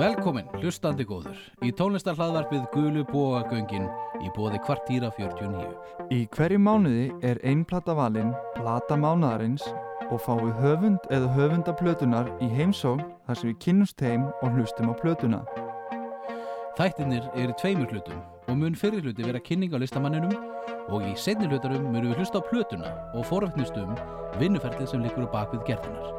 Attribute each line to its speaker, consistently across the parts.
Speaker 1: Velkomin, hlustandi góður, í tónlistarhlaðvarpið Gulu Bóagöngin í bóði kvartýra 49.
Speaker 2: Í hverju mánuði er ein plata valinn, plata mánuðarins og fáið höfund eða höfunda plötunar í heimsókn þar sem við kynnumst heim og hlustum á plötuna.
Speaker 1: Þættinir eru í tveimur hlutum og mun fyrir hluti vera kynning á listamanninum og í seinni hlutarum munum við hlusta á plötuna og foröfnust um vinnuferlið sem liggur á bakvið gerðunar.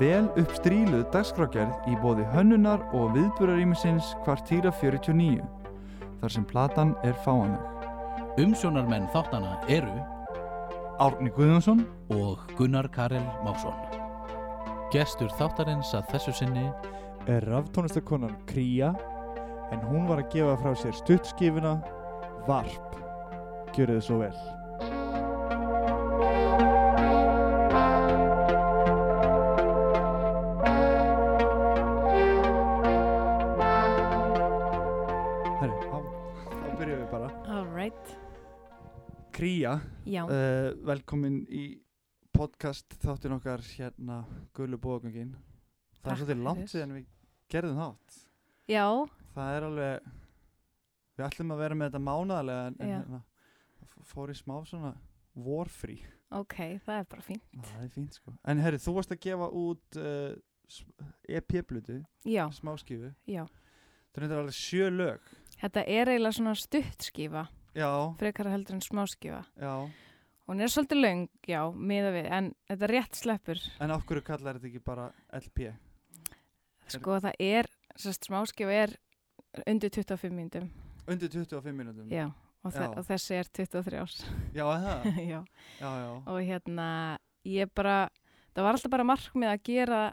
Speaker 2: Vel uppstríluð dagskrákjærð í bóði hönnunar og viðbúrarímisins kvartýra 49 þar sem platan er fáanleg.
Speaker 1: Umsjónarmenn þáttana eru
Speaker 2: Árni Guðjónsson,
Speaker 1: og Gunnar Karel Másson. Gestur þáttarins að þessu sinni
Speaker 3: er raftónlistakonan Kría en hún var að gefa frá sér stuttskifuna Varp Gjörðu þið svo vel Herri, þá- þá byrjum við bara
Speaker 4: Alright,
Speaker 3: Kría,
Speaker 4: já,
Speaker 3: uh, velkomin í podcast þáttin okkar hérna Gullu bóðgöngin Það er
Speaker 4: Takk
Speaker 3: svolítið langt
Speaker 4: fyrir.
Speaker 3: síðan við gerðum þátt
Speaker 4: já,
Speaker 3: það er alveg við ætlum að vera með þetta mánaðarlega en, en
Speaker 4: Já.
Speaker 3: hérna, f- fór í smá svona vorfrí,
Speaker 4: ok, það er bara fín
Speaker 3: það er fínt sko en herri, þú varst að gefa út uh, E EP-blutu,
Speaker 4: Já,
Speaker 3: smáskifu
Speaker 4: já,
Speaker 3: það er þetta alveg sjö lög
Speaker 4: þetta er eiginlega svona stuttskífa,
Speaker 3: já,
Speaker 4: frekar heldur en smáskífa
Speaker 3: já,
Speaker 4: Hún er svolítið löng, já, miða við, en þetta rétt sleppur
Speaker 3: en af hverju kallar þetta ekki bara LP
Speaker 4: Sko það er, sérst smáskífa er undir 25 mínútum
Speaker 3: undir 25 mínútum
Speaker 4: Já, og, þe-
Speaker 3: Mm. Já.
Speaker 4: og þessi er 23 árs
Speaker 3: já, er það,
Speaker 4: Já,
Speaker 3: já, já
Speaker 4: og hérna, ég bara, það var alltaf bara markmið að gera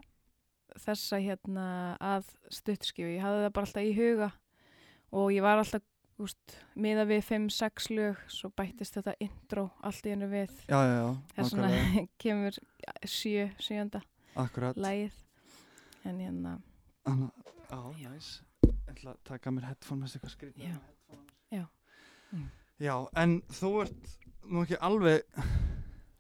Speaker 4: þessa hérna að stuttskífu, ég hafði það bara alltaf í huga og ég var alltaf úst, miða við 5-6 lög svo bættist þetta intro allt í hennu við
Speaker 3: já, já, já,
Speaker 4: þess vegna
Speaker 3: nákvæmlega,
Speaker 4: kemur 7, 7.
Speaker 3: akkurat
Speaker 4: lægið en hérna,
Speaker 3: Anna, á,
Speaker 4: Já.
Speaker 3: næs Ég ætla að taka mér headphone með eitthvað skrítið
Speaker 4: Já. Já. Mm.
Speaker 3: Já, en þú ert nú ekki alveg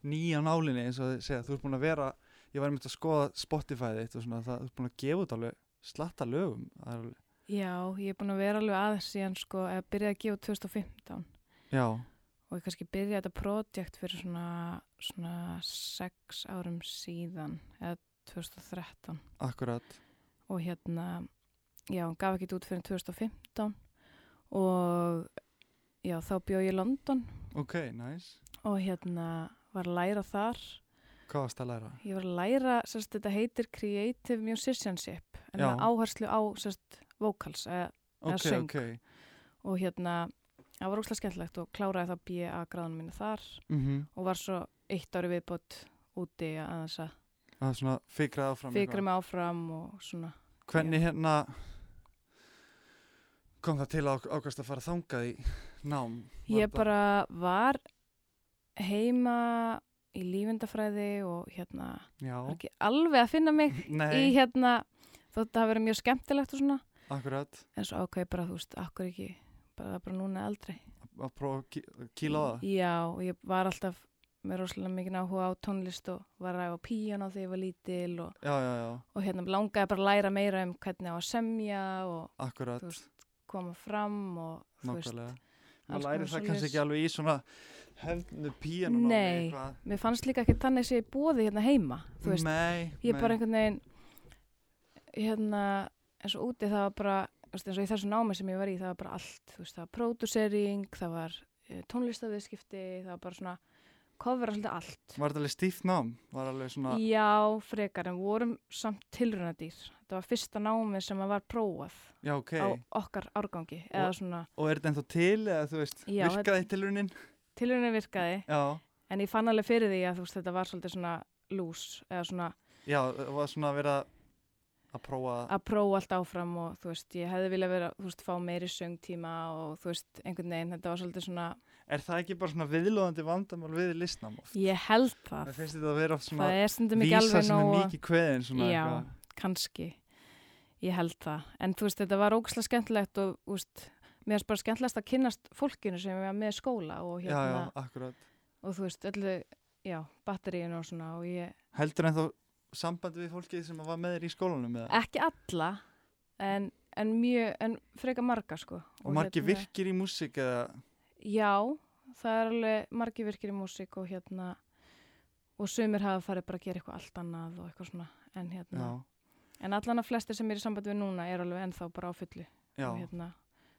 Speaker 3: nýja nálinni eins og þið segja, þú ert búin að vera ég var einmitt að skoða Spotify þitt og svona það, þú ert búin að gefa út alveg slatta lögum Það er alveg,
Speaker 4: já, ég er búin að vera alveg aðeins síðan sko, eða byrjaði að gefa út 2015
Speaker 3: Já,
Speaker 4: og ég kannski byrjaði þetta projekt fyrir svona, svona 6 árum síðan eða 2013
Speaker 3: akkurat
Speaker 4: og hérna, já, hún gaf ekki út fyrir 2015 og já, þá bjóð ég í London
Speaker 3: Ok, næs
Speaker 4: og hérna var að læra þar
Speaker 3: Hvað varst að læra?
Speaker 4: ég var að læra, sérst, þetta heitir Creative Musicianship en
Speaker 3: Já.
Speaker 4: það áherslu á, sérst, vocals eða, Eða
Speaker 3: Ok,
Speaker 4: söng.
Speaker 3: ok
Speaker 4: og hérna, það var óslega skemmtilegt og kláraði það B.A. gráðan mínu þar
Speaker 3: mm
Speaker 4: og var svo eitt ári viðbót úti að þess að
Speaker 3: Það er svona fikrað áfram eitthvað.
Speaker 4: fikra mig áfram og svona
Speaker 3: Hvernig hérna kom það til að ákvæmst að fara þangað í nám? Var
Speaker 4: Ég
Speaker 3: þetta-
Speaker 4: bara var heima í lífendafræði og hérna,
Speaker 3: Já,
Speaker 4: var ekki alveg að finna mig í
Speaker 3: nei,
Speaker 4: hérna, þótt að það hafi verið mjög skemmtilegt og svona,
Speaker 3: akkurat
Speaker 4: en svo ákveði bara, þú veist, akkur ekki, bara það er bara núna aldrei.
Speaker 3: að prófa að kí- kýla á það
Speaker 4: Já, og ég var alltaf með rosalega mikið áhuga á tónlist og var að æfa píjana þegar ég var lítil og,
Speaker 3: Já, já, já,
Speaker 4: og hérna langaði bara að læra meira um hvernig á að semja og
Speaker 3: akkurat,
Speaker 4: Þú veist, koma fram og þú veist,
Speaker 3: nákvæmlega Maður
Speaker 4: alls
Speaker 3: læri
Speaker 4: konar
Speaker 3: það kannski
Speaker 4: svoleiðis.
Speaker 3: ekki alveg í svona hefnu píanum
Speaker 4: Nei, Mér fannst líka ekki þannig sem ég búið hérna heima, þú veist,
Speaker 3: Nei,
Speaker 4: ég
Speaker 3: nei.
Speaker 4: bara einhvern veginn hérna eins og úti það var bara þú veist, eins og í þessu námi sem ég var í það var bara allt þú veist, það var pródusering, það var eh, tónlistaviðskipti, það var bara svona kofra svolítið allt
Speaker 3: Var þetta alveg stíft nám? Var alveg svona,
Speaker 4: Já, frekar, en vorum samt tilrunadýr þetta var fyrsta námið sem að var prófað
Speaker 3: já, ok
Speaker 4: á okkar árgangi eða
Speaker 3: Og-
Speaker 4: svona
Speaker 3: Og er þetta ennþá til eða þú veist,
Speaker 4: Já,
Speaker 3: virkaði til runin?
Speaker 4: tilrunni virkaði
Speaker 3: Já,
Speaker 4: en ég fann alveg fyrir því að þú veist, þetta var svolítið svona lús eða svona
Speaker 3: já, það var svona að vera að prófa
Speaker 4: að prófa allt áfram og þú veist, ég hefði viljað vera, þú veist, fá meiri söngtíma og þú veist, einhvern veginn, þetta var svolítið svona,
Speaker 3: Er það ekki bara svona viðlóðandi vandamál við listnám oft?
Speaker 4: ég held
Speaker 3: Mér
Speaker 4: það,
Speaker 3: finnst þetta að vera oft svona
Speaker 4: það er stundum ekki
Speaker 3: vísa
Speaker 4: alveg
Speaker 3: sem er
Speaker 4: nóg, að-
Speaker 3: mikið kveðin svona
Speaker 4: Já.
Speaker 3: eitthvað.
Speaker 4: kannski, ég held það, en þú veist, þetta var ógæslega skemmtilegt og, þú veist, mér finnst bara skemmtilegast að kynnast fólkinu sem ég var með skóla og
Speaker 3: Já, já,
Speaker 4: hérna,
Speaker 3: akkurat
Speaker 4: og þú veist, öllu, já, batteríinu og svona og ég,
Speaker 3: Heldur ennþá sambandi við fólkið sem að var með þér í skólanum eða?
Speaker 4: ekki alla, en, en mjög, en freka marga sko
Speaker 3: Og margir
Speaker 4: hérna-
Speaker 3: virkir í músík eða
Speaker 4: Já, það er alveg margir virkir í músík og hérna og sumir hafa farið bara að gera eitthvað allt annað og eitthvað svona en hérna,
Speaker 3: Já,
Speaker 4: en allan að flestir sem er í sambandi við núna er alveg ennþá bara á fullu
Speaker 3: já,
Speaker 4: og hérna,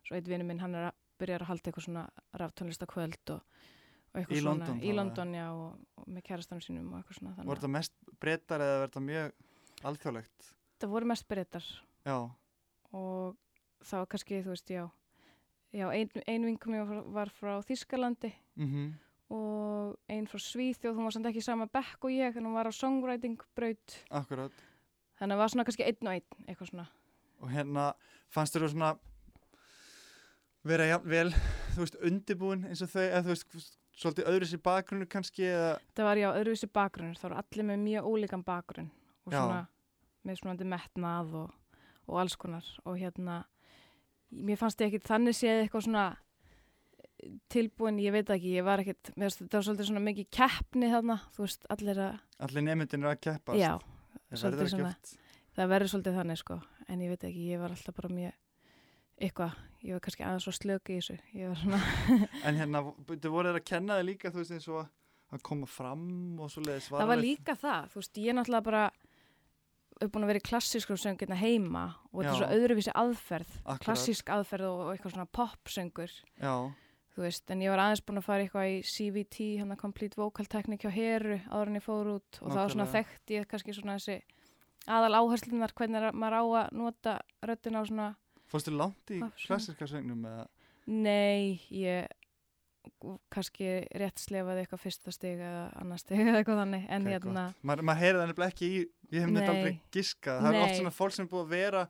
Speaker 4: svo einn vinur minn hann er að byrja að halda eitthvað svona raftónlista kvöld og, og eitthvað
Speaker 3: Í
Speaker 4: svona
Speaker 3: London þá,
Speaker 4: í
Speaker 3: eða?
Speaker 4: London, já, og, og með kærastanum sínum og eitthvað
Speaker 3: Var
Speaker 4: svona, þannig að
Speaker 3: þetta mest breytar eða var þetta mjög alþjóðlegt?
Speaker 4: þetta voru mest breytar
Speaker 3: Já,
Speaker 4: og það var kannski, þú veist, já já, ein, ein vinkum var, var frá Þískalandi
Speaker 3: mhm,
Speaker 4: og einn frá Svíþjóð, hún var samt ekki í sama bekk og ég, en hún var á songwriting braut,
Speaker 3: akkurat
Speaker 4: þannig að var svona kannski einn og einn, eitthvað svona.
Speaker 3: Og hérna, fannst þér þú svona vera jafn vel, þú veist, undirbúin eins og þau, eða þú veist, svolítið öðru sér bakgrunnu kannski eða
Speaker 4: Það var já, öðruvísi bakgrunn, þá eru allir með mjög ólíkan bakgrunn og
Speaker 3: Já.
Speaker 4: svona með svona metnað og, og alls konar og hérna, mér fannst ég ekkit þannig séð eitthvað svona tilbúin, ég veit það ekki, ég var ekkit, mér fannst þetta var svolítið svona mikið keppni þarna, þú veist, allir að,
Speaker 3: allir nefndin eru að keppast
Speaker 4: já,
Speaker 3: Það
Speaker 4: svolítið
Speaker 3: verður ekki
Speaker 4: svona.
Speaker 3: oft
Speaker 4: það verður svolítið þannig sko en ég veit ekki, ég var alltaf bara mjög eitthvað, ég var kannski aðeins svo slök í þessu ég var svona,
Speaker 3: En hérna, þau voru þeir að kenna þig líka, þú veist, eins og að koma fram og svo leiðis
Speaker 4: það var líka það þú veist, ég náttúrulega bara er búin að vera í klassískum söngirna heima og þetta er
Speaker 3: Já.
Speaker 4: svo öðruvísi aðferð
Speaker 3: Akkurat.
Speaker 4: klassísk aðferð og, og eitthvað svona popsöngur
Speaker 3: Já,
Speaker 4: þú veist, en ég var aðeins búin að fara eitthvað í CVT, hann að hérna Complete Vocal Technique hjá Heru áður en ég fór út og þá svona
Speaker 3: Nákvæmlega.
Speaker 4: þekkti ég kannski svona þessi aðal áherslunar hvernig er- maður á að nota röddina á svona
Speaker 3: fórstu langt í
Speaker 4: Hvað söng?
Speaker 3: klassirka sögnum eða
Speaker 4: Nei, ég kannski rétt slefaði eitthvað fyrsta stig eða annar stig eða eitthvað þannig en
Speaker 3: Ok,
Speaker 4: hérna,
Speaker 3: gott. maður ma heyrði þannig ekki í ég hef myndið
Speaker 4: Nei.
Speaker 3: aldrei giska það er oft
Speaker 4: Nei.
Speaker 3: svona fólk sem er búið að vera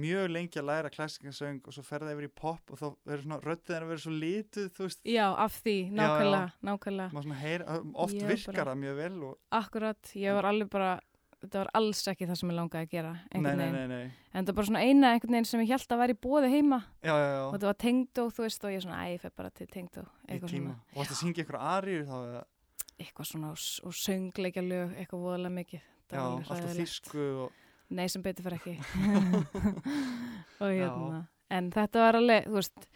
Speaker 3: mjög lengi að læra klassikansöng og svo ferða yfir í pop og þá verður svona röddið þeirra verður svo lituð þú veist,
Speaker 4: já, af því, nákvæmlega, nákvæmlega
Speaker 3: maður svona heyra oft
Speaker 4: Ég
Speaker 3: virkar
Speaker 4: bara-
Speaker 3: það mjög vel og,
Speaker 4: akkurat, ég var alveg bara þetta var alls ekki það sem ég langaði að gera
Speaker 3: nei,
Speaker 4: einhvern
Speaker 3: nei,
Speaker 4: veginn,
Speaker 3: nei, nei,
Speaker 4: en þetta var bara svona eina einhvern veginn sem ég held að væri í bóði heima
Speaker 3: já, já,
Speaker 4: og
Speaker 3: já
Speaker 4: þetta var tengdó, þú veist, og ég svona, æ, ég fer bara til tengdó
Speaker 3: í
Speaker 4: eitthvað
Speaker 3: tíma,
Speaker 4: svona,
Speaker 3: og þetta syngi ykkur aðrýr þá eða,
Speaker 4: eitthvað svona og, og söngleikja lög, eitthvað voðalega mikið Það
Speaker 3: já,
Speaker 4: var alveg
Speaker 3: alltaf
Speaker 4: hræðilegt.
Speaker 3: þýsku og,
Speaker 4: Nei, sem betur fyrir ekki. og
Speaker 3: Já.
Speaker 4: hérna, en þetta var alveg, þú veist,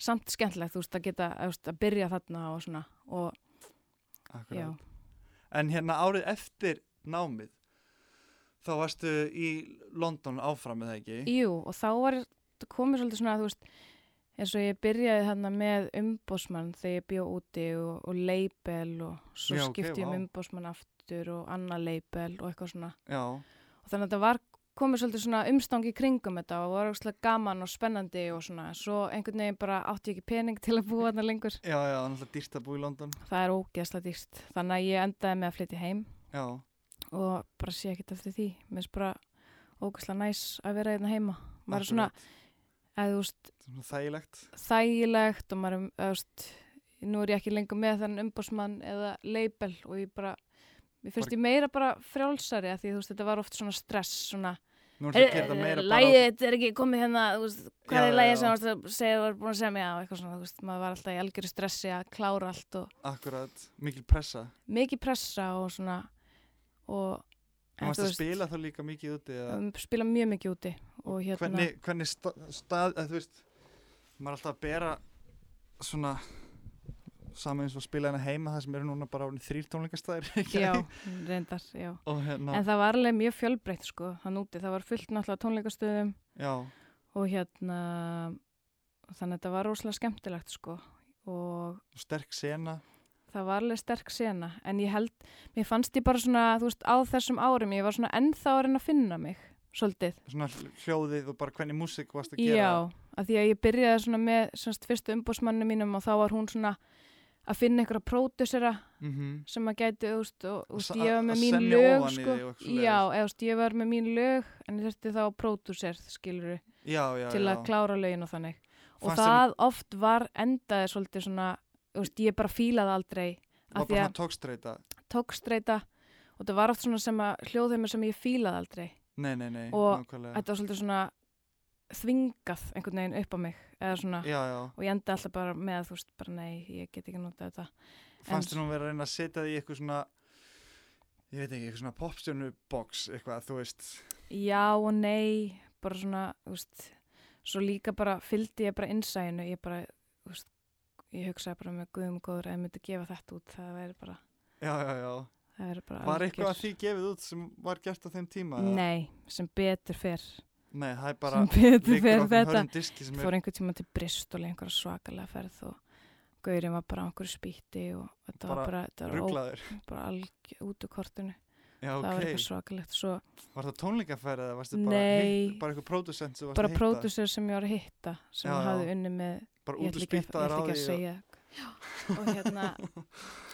Speaker 4: samt skemmtilegt, þú veist, að geta, þú veist, að byrja þarna og svona, og já,
Speaker 3: akkurat. en hérna árið eftir námið þá varstu í London áfram eða ekki,
Speaker 4: jú, og þá var komið svolítið svona, þú veist, eins og ég byrjaði þarna með umbósmann þegar ég bjó úti og, og label og svo
Speaker 3: Já, ok,
Speaker 4: skipti ég
Speaker 3: vá.
Speaker 4: um umbósmann aftur og annað label og eitthvað svona.
Speaker 3: já,
Speaker 4: og þannig að þetta var komið svolítið svona umstangi kringum þetta og var ógstlega gaman og spennandi og svona, en svo einhvern veginn bara átti ég ekki pening til að búa þarna lengur
Speaker 3: já, já, alltaf dýrt að búa í London
Speaker 4: það er ógeðslega dýrt þannig að ég endaði með að flytja heim
Speaker 3: já,
Speaker 4: og bara sé ekkert eftir því mér finnst bara ógeðslega næs að vera hérna heima maður er svona,
Speaker 3: akkurat.
Speaker 4: eða þú veist,
Speaker 3: svona þægilegt
Speaker 4: þægilegt og maður er, eða þú veist, nú er ég ekki lengur með þann umbásmann eða label og ég bara, mér finnst
Speaker 3: Bara-
Speaker 4: ég meira bara frjálsari að því þú veist, þetta var oft svona stress, svona
Speaker 3: Nú er það að gera þetta meira bara á-
Speaker 4: Lægið þetta er ekki komið hérna þú veist,
Speaker 3: Já,
Speaker 4: hvað er
Speaker 3: já,
Speaker 4: lægið
Speaker 3: já.
Speaker 4: sem þú varst að segja þú var búin að segja mig á eitthvað svona, þú veist, maður var alltaf í algjöru stressi að klára allt og
Speaker 3: Akkurat, mikil pressa
Speaker 4: mikið pressa og svona og
Speaker 3: Þú varst að spila þá líka mikið úti eða,
Speaker 4: um, spila mjög mikið úti og hérna
Speaker 3: Hvernig, hvernig sta, stað, eða, þú veist Maður er alltaf að bera svona Saman eins og spila hérna heima Það sem eru núna bara árið þrýr tónleikastæðir ekki?
Speaker 4: já, reyndar, já
Speaker 3: Og hérna,
Speaker 4: en það var alveg mjög fjölbreytt sko hann úti, það var fullt náttúrulega tónleikastöðum
Speaker 3: já,
Speaker 4: og hérna þannig að þetta var rosalega skemmtilegt sko og
Speaker 3: og sterk sena
Speaker 4: það var alveg sterk sena en ég held, mér fannst ég bara svona þú veist, á þessum árum, ég var svona ennþá að reyna að finna mig, svolítið
Speaker 3: Svona hl- hljóðið og bara hvernig músík varst að gera
Speaker 4: já, af því að ég byrjaði svona með semst, fyrstu umbósmannu mínum og þá var hún svona að finna einhverja pródusera
Speaker 3: mm
Speaker 4: sem að gæti, þú veist, og, og
Speaker 3: Að
Speaker 4: úst,
Speaker 3: sa-
Speaker 4: ég var
Speaker 3: að
Speaker 4: með mín
Speaker 3: semja
Speaker 4: lög
Speaker 3: ofan í
Speaker 4: sko,
Speaker 3: þig og eitthvað
Speaker 4: já, eða, þú veist, ég var með mín lög en ég þurfti þá próduser, skilur
Speaker 3: Já, já,
Speaker 4: til
Speaker 3: já
Speaker 4: að klára lögin og þannig og
Speaker 3: Fannst þér-
Speaker 4: það oft var endaði svolítið svona, þú veist, ég bara fílaði aldrei
Speaker 3: Var
Speaker 4: af
Speaker 3: bara
Speaker 4: því að
Speaker 3: svona tókstreita
Speaker 4: tókstreita og það var oft svona sem að hljóðheimur sem ég fílaði aldrei
Speaker 3: Nei, nei, nei,
Speaker 4: Og
Speaker 3: nákvæmlega
Speaker 4: þetta var svolítið svona þvingað einhvern veginn upp á mig eða svona
Speaker 3: Já, já,
Speaker 4: og ég enda alltaf bara með þú veist bara nei, ég get ekki notað þetta
Speaker 3: fannst þér nú verið að reyna að setja því eitthvað svona ég veit ekki, eitthvað svona popstjörnubox eitthvað, þú veist
Speaker 4: já og nei bara svona, þú veist, svo líka bara fylgdi ég bara innsæðinu, ég bara, þú veist, ég hugsaði bara með guðum góður ef ég myndi gefa þetta út, það væri bara,
Speaker 3: já, já, já.
Speaker 4: það væri bara
Speaker 3: Var eitthvað
Speaker 4: algjör-
Speaker 3: að því gefið út sem var gert á þeim tíma? eða?
Speaker 4: Nei, sem betur fer,
Speaker 3: Nei, það er bara
Speaker 4: sem betur
Speaker 3: liggur á
Speaker 4: fer
Speaker 3: þeim
Speaker 4: þetta,
Speaker 3: hörðum diski sem er
Speaker 4: fór einhver tíma til Bristol í einhverja svakalega ferð og gaurinn var bara á einhverju spýtti og þetta
Speaker 3: Bara
Speaker 4: var bara, þetta var ó,
Speaker 3: rugglaður.
Speaker 4: bara alg, út úr kortinu,
Speaker 3: Já,
Speaker 4: það var eitthvað
Speaker 3: ok.
Speaker 4: svakalegt, svo
Speaker 3: Var það tónleikafæri eða varstu bara,
Speaker 4: Nei.
Speaker 3: hitt, bara eitthvað pródusent sem varstu að
Speaker 4: bara
Speaker 3: hitta?
Speaker 4: pródusser sem ég var að hitta sem
Speaker 3: Já, já.
Speaker 4: hafði unni með
Speaker 3: Bara
Speaker 4: ég
Speaker 3: út
Speaker 4: ætla
Speaker 3: og
Speaker 4: ekki, ég
Speaker 3: spýttaður
Speaker 4: ætla
Speaker 3: á
Speaker 4: ekki að
Speaker 3: því.
Speaker 4: segja og hérna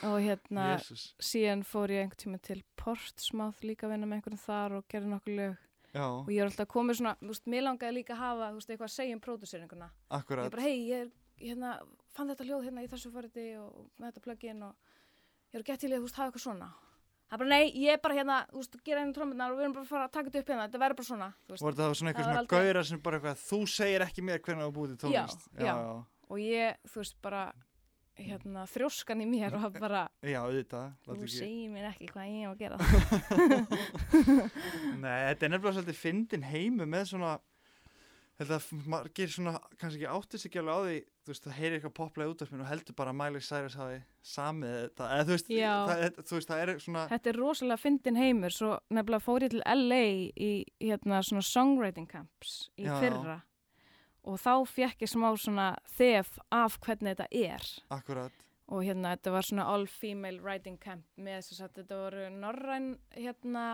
Speaker 4: og hérna
Speaker 3: Jésus.
Speaker 4: síðan fór ég einhvern tíma til Portsmouth líka að vinna með einhverjum þar og gerði nokkur lög
Speaker 3: Já,
Speaker 4: og ég er alltaf komið svona, þú veist, mér langaði líka að hafa þú veist, eitthvað að segja um pródusseringuna ég
Speaker 3: akkurat.
Speaker 4: bara, hei, ég er, hérna, fann þetta hljóð hérna í þessu forriti og og með þetta plugin og ég er að gett til í að, þú veist, hafa eitthvað svona það er bara, nei, ég er bara hérna, þú veist, gera einu trómmunar og við erum bara að fara að taka þetta upp hérna, þetta verður bara svona, þú veist,
Speaker 3: Voru það svona
Speaker 4: Það
Speaker 3: eitthvað
Speaker 4: var
Speaker 3: svona
Speaker 4: aldrei-
Speaker 3: gauðra sem bara eitthvað, þú segir ekki mér hvernig þú búið
Speaker 4: Já,
Speaker 3: tónlist.
Speaker 4: já.
Speaker 3: já.
Speaker 4: og ég, þú veist, bara hérna, þrjóskan í mér og bara
Speaker 3: Já, auðvitað.
Speaker 4: þú
Speaker 3: láta ekki-
Speaker 4: segir mér ekki hvað ég á að gera
Speaker 3: Nei, þetta er nefnilega svolítið fyndin heimu með svona, held að margir svona, kannski ekki áttist ekki alveg á því, þú veist, það heyrir eitthvað poplega út af mér og heldur bara að Miley Cyrus hafi samið þetta, eða þú veist,
Speaker 4: Já.
Speaker 3: það, þú veist, það er svona,
Speaker 4: þetta er rosalega fyndin heimur svo nefnilega fór ég til LA í hérna svona songwriting camps í
Speaker 3: Já, já.
Speaker 4: fyrra og þá fekk ég smá svona þef af hvernig þetta er
Speaker 3: akkurat,
Speaker 4: og hérna þetta var svona all female writing camp með þess að þetta voru norræn hérna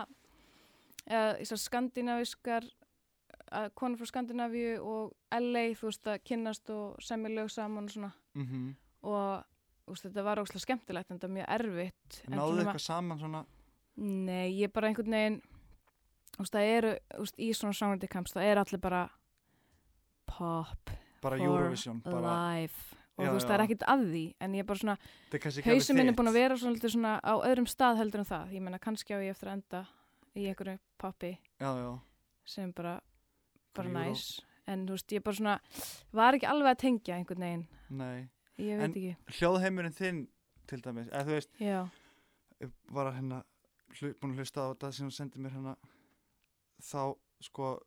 Speaker 4: eða þessar skandinaviskar að konur frá Skandinavíu og LA þú veist að kynnast og semja lög saman og svona
Speaker 3: mm
Speaker 4: og þú veist, þetta var óslega skemmtilegt en þetta var mjög erfitt En
Speaker 3: náðu
Speaker 4: svona-
Speaker 3: eitthvað saman svona,
Speaker 4: Nei, ég bara einhvern veginn þú veist, það eru, þú veist, í svona songwriting camps það eru allir bara pop,
Speaker 3: bara
Speaker 4: For
Speaker 3: Eurovision, bara,
Speaker 4: life og
Speaker 3: Já,
Speaker 4: þú veist, það er
Speaker 3: já.
Speaker 4: ekkert að því en ég er bara svona,
Speaker 3: þetta er kannski ekki
Speaker 4: hausin minn er búin að
Speaker 3: þitt.
Speaker 4: vera svona, lítið svona á öðrum stað heldur en það ég meina, kannski á ég eftir að enda í einhverju poppi
Speaker 3: Já, já,
Speaker 4: sem bara, bara
Speaker 3: Euro-
Speaker 4: næs en þú veist, ég bara svona var ekki alveg að tengja einhvern veginn
Speaker 3: nei,
Speaker 4: ég veit
Speaker 3: En-
Speaker 4: ekki,
Speaker 3: hljóðheimurinn þinn, til dæmis, eða þú veist,
Speaker 4: já,
Speaker 3: var að hérna hlu, búin að hlusta á þetta sem hún sendi mér hérna þá sko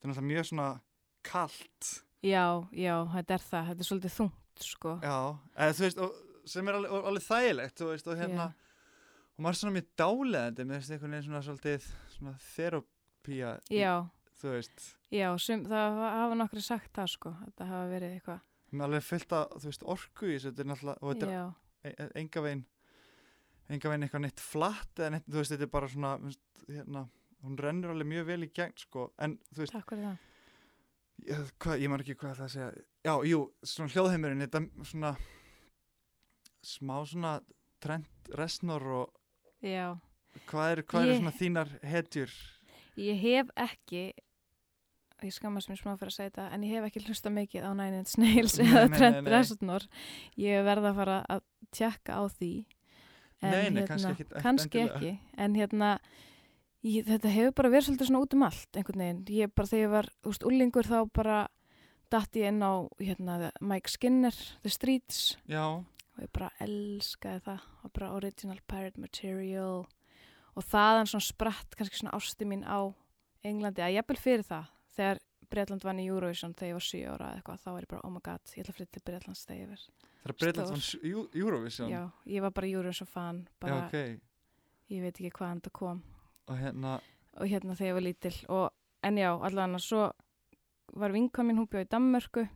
Speaker 3: það er náttúrulega mjög svona kalt
Speaker 4: já, já þetta er það, þetta er svolítið þungt sko,
Speaker 3: já, eða þú veist og, sem er alveg, og- alveg þægilegt þú veist og hérna og maður er svona mjög dáleðandi með þessi einhvern veginn svona svolítið svona þerapía í-
Speaker 4: já
Speaker 3: þú veist
Speaker 4: Já, sem, það hafa- hafa nokkru sagt það sko, að það hafa verið eitthvað.
Speaker 3: með alveg fullt af þú veist orku í þessu þetta er náttúrulega og þetta
Speaker 4: Já,
Speaker 3: er e- e- enga veginn enga veginn eitthvað neitt flatt eða neitt þú veist þetta er bara svona þú veist, hérna hún rennur alveg mjög vel í gegn sko en þú veist
Speaker 4: takk fyrir það.
Speaker 3: ég, hva, ég man ekki hvað það að segja já, jú, svona hljóðheimurinn þetta svona smá svona trend resnor og
Speaker 4: Já,
Speaker 3: hvað eru hvað eru
Speaker 4: Ég-
Speaker 3: svona þínar hetjur
Speaker 4: ég hef ekki, ég skammast mér smá fyrir að segja þetta, en ég hef ekki hlusta mikið á Nine Inch Nails
Speaker 3: Nei,
Speaker 4: eða
Speaker 3: nei, nei,
Speaker 4: Trent
Speaker 3: nei.
Speaker 4: Reznor. Ég verða að fara að tjekka á því. hérna,
Speaker 3: Nei, nei, kannski ekkit- ekkit
Speaker 4: Kannski
Speaker 3: endilega.
Speaker 4: ekki, en hérna, ég, þetta hefur bara verið svolítið svona út um allt, einhvern veginn. Ég bara, þegar ég var, þú veist, úlingur þá bara datt ég inn á, hérna, Mike Skinner, The Streets,
Speaker 3: já,
Speaker 4: og ég bara elskaði það og bara original pirate material og þaðan svona spratt kannski svona ásti mín á Englandi að jafnvel fyrir það þegar Breitland vann í Eurovision þegar ég var 7 ára eða eitthvað þá var ég bara oh my god ég ætla að flytja til Breitlands þegar ég verð
Speaker 3: það er Breitland von Jú- Eurovision
Speaker 4: já, ég var bara Eurovision fan
Speaker 3: já,
Speaker 4: bara
Speaker 3: ok,
Speaker 4: ég veit ekki hvaðan þetta kom
Speaker 3: og hérna
Speaker 4: og hérna þegar ég var lítil og, en já, allan að svo var vinkan mín, hún bjóð í Danmörku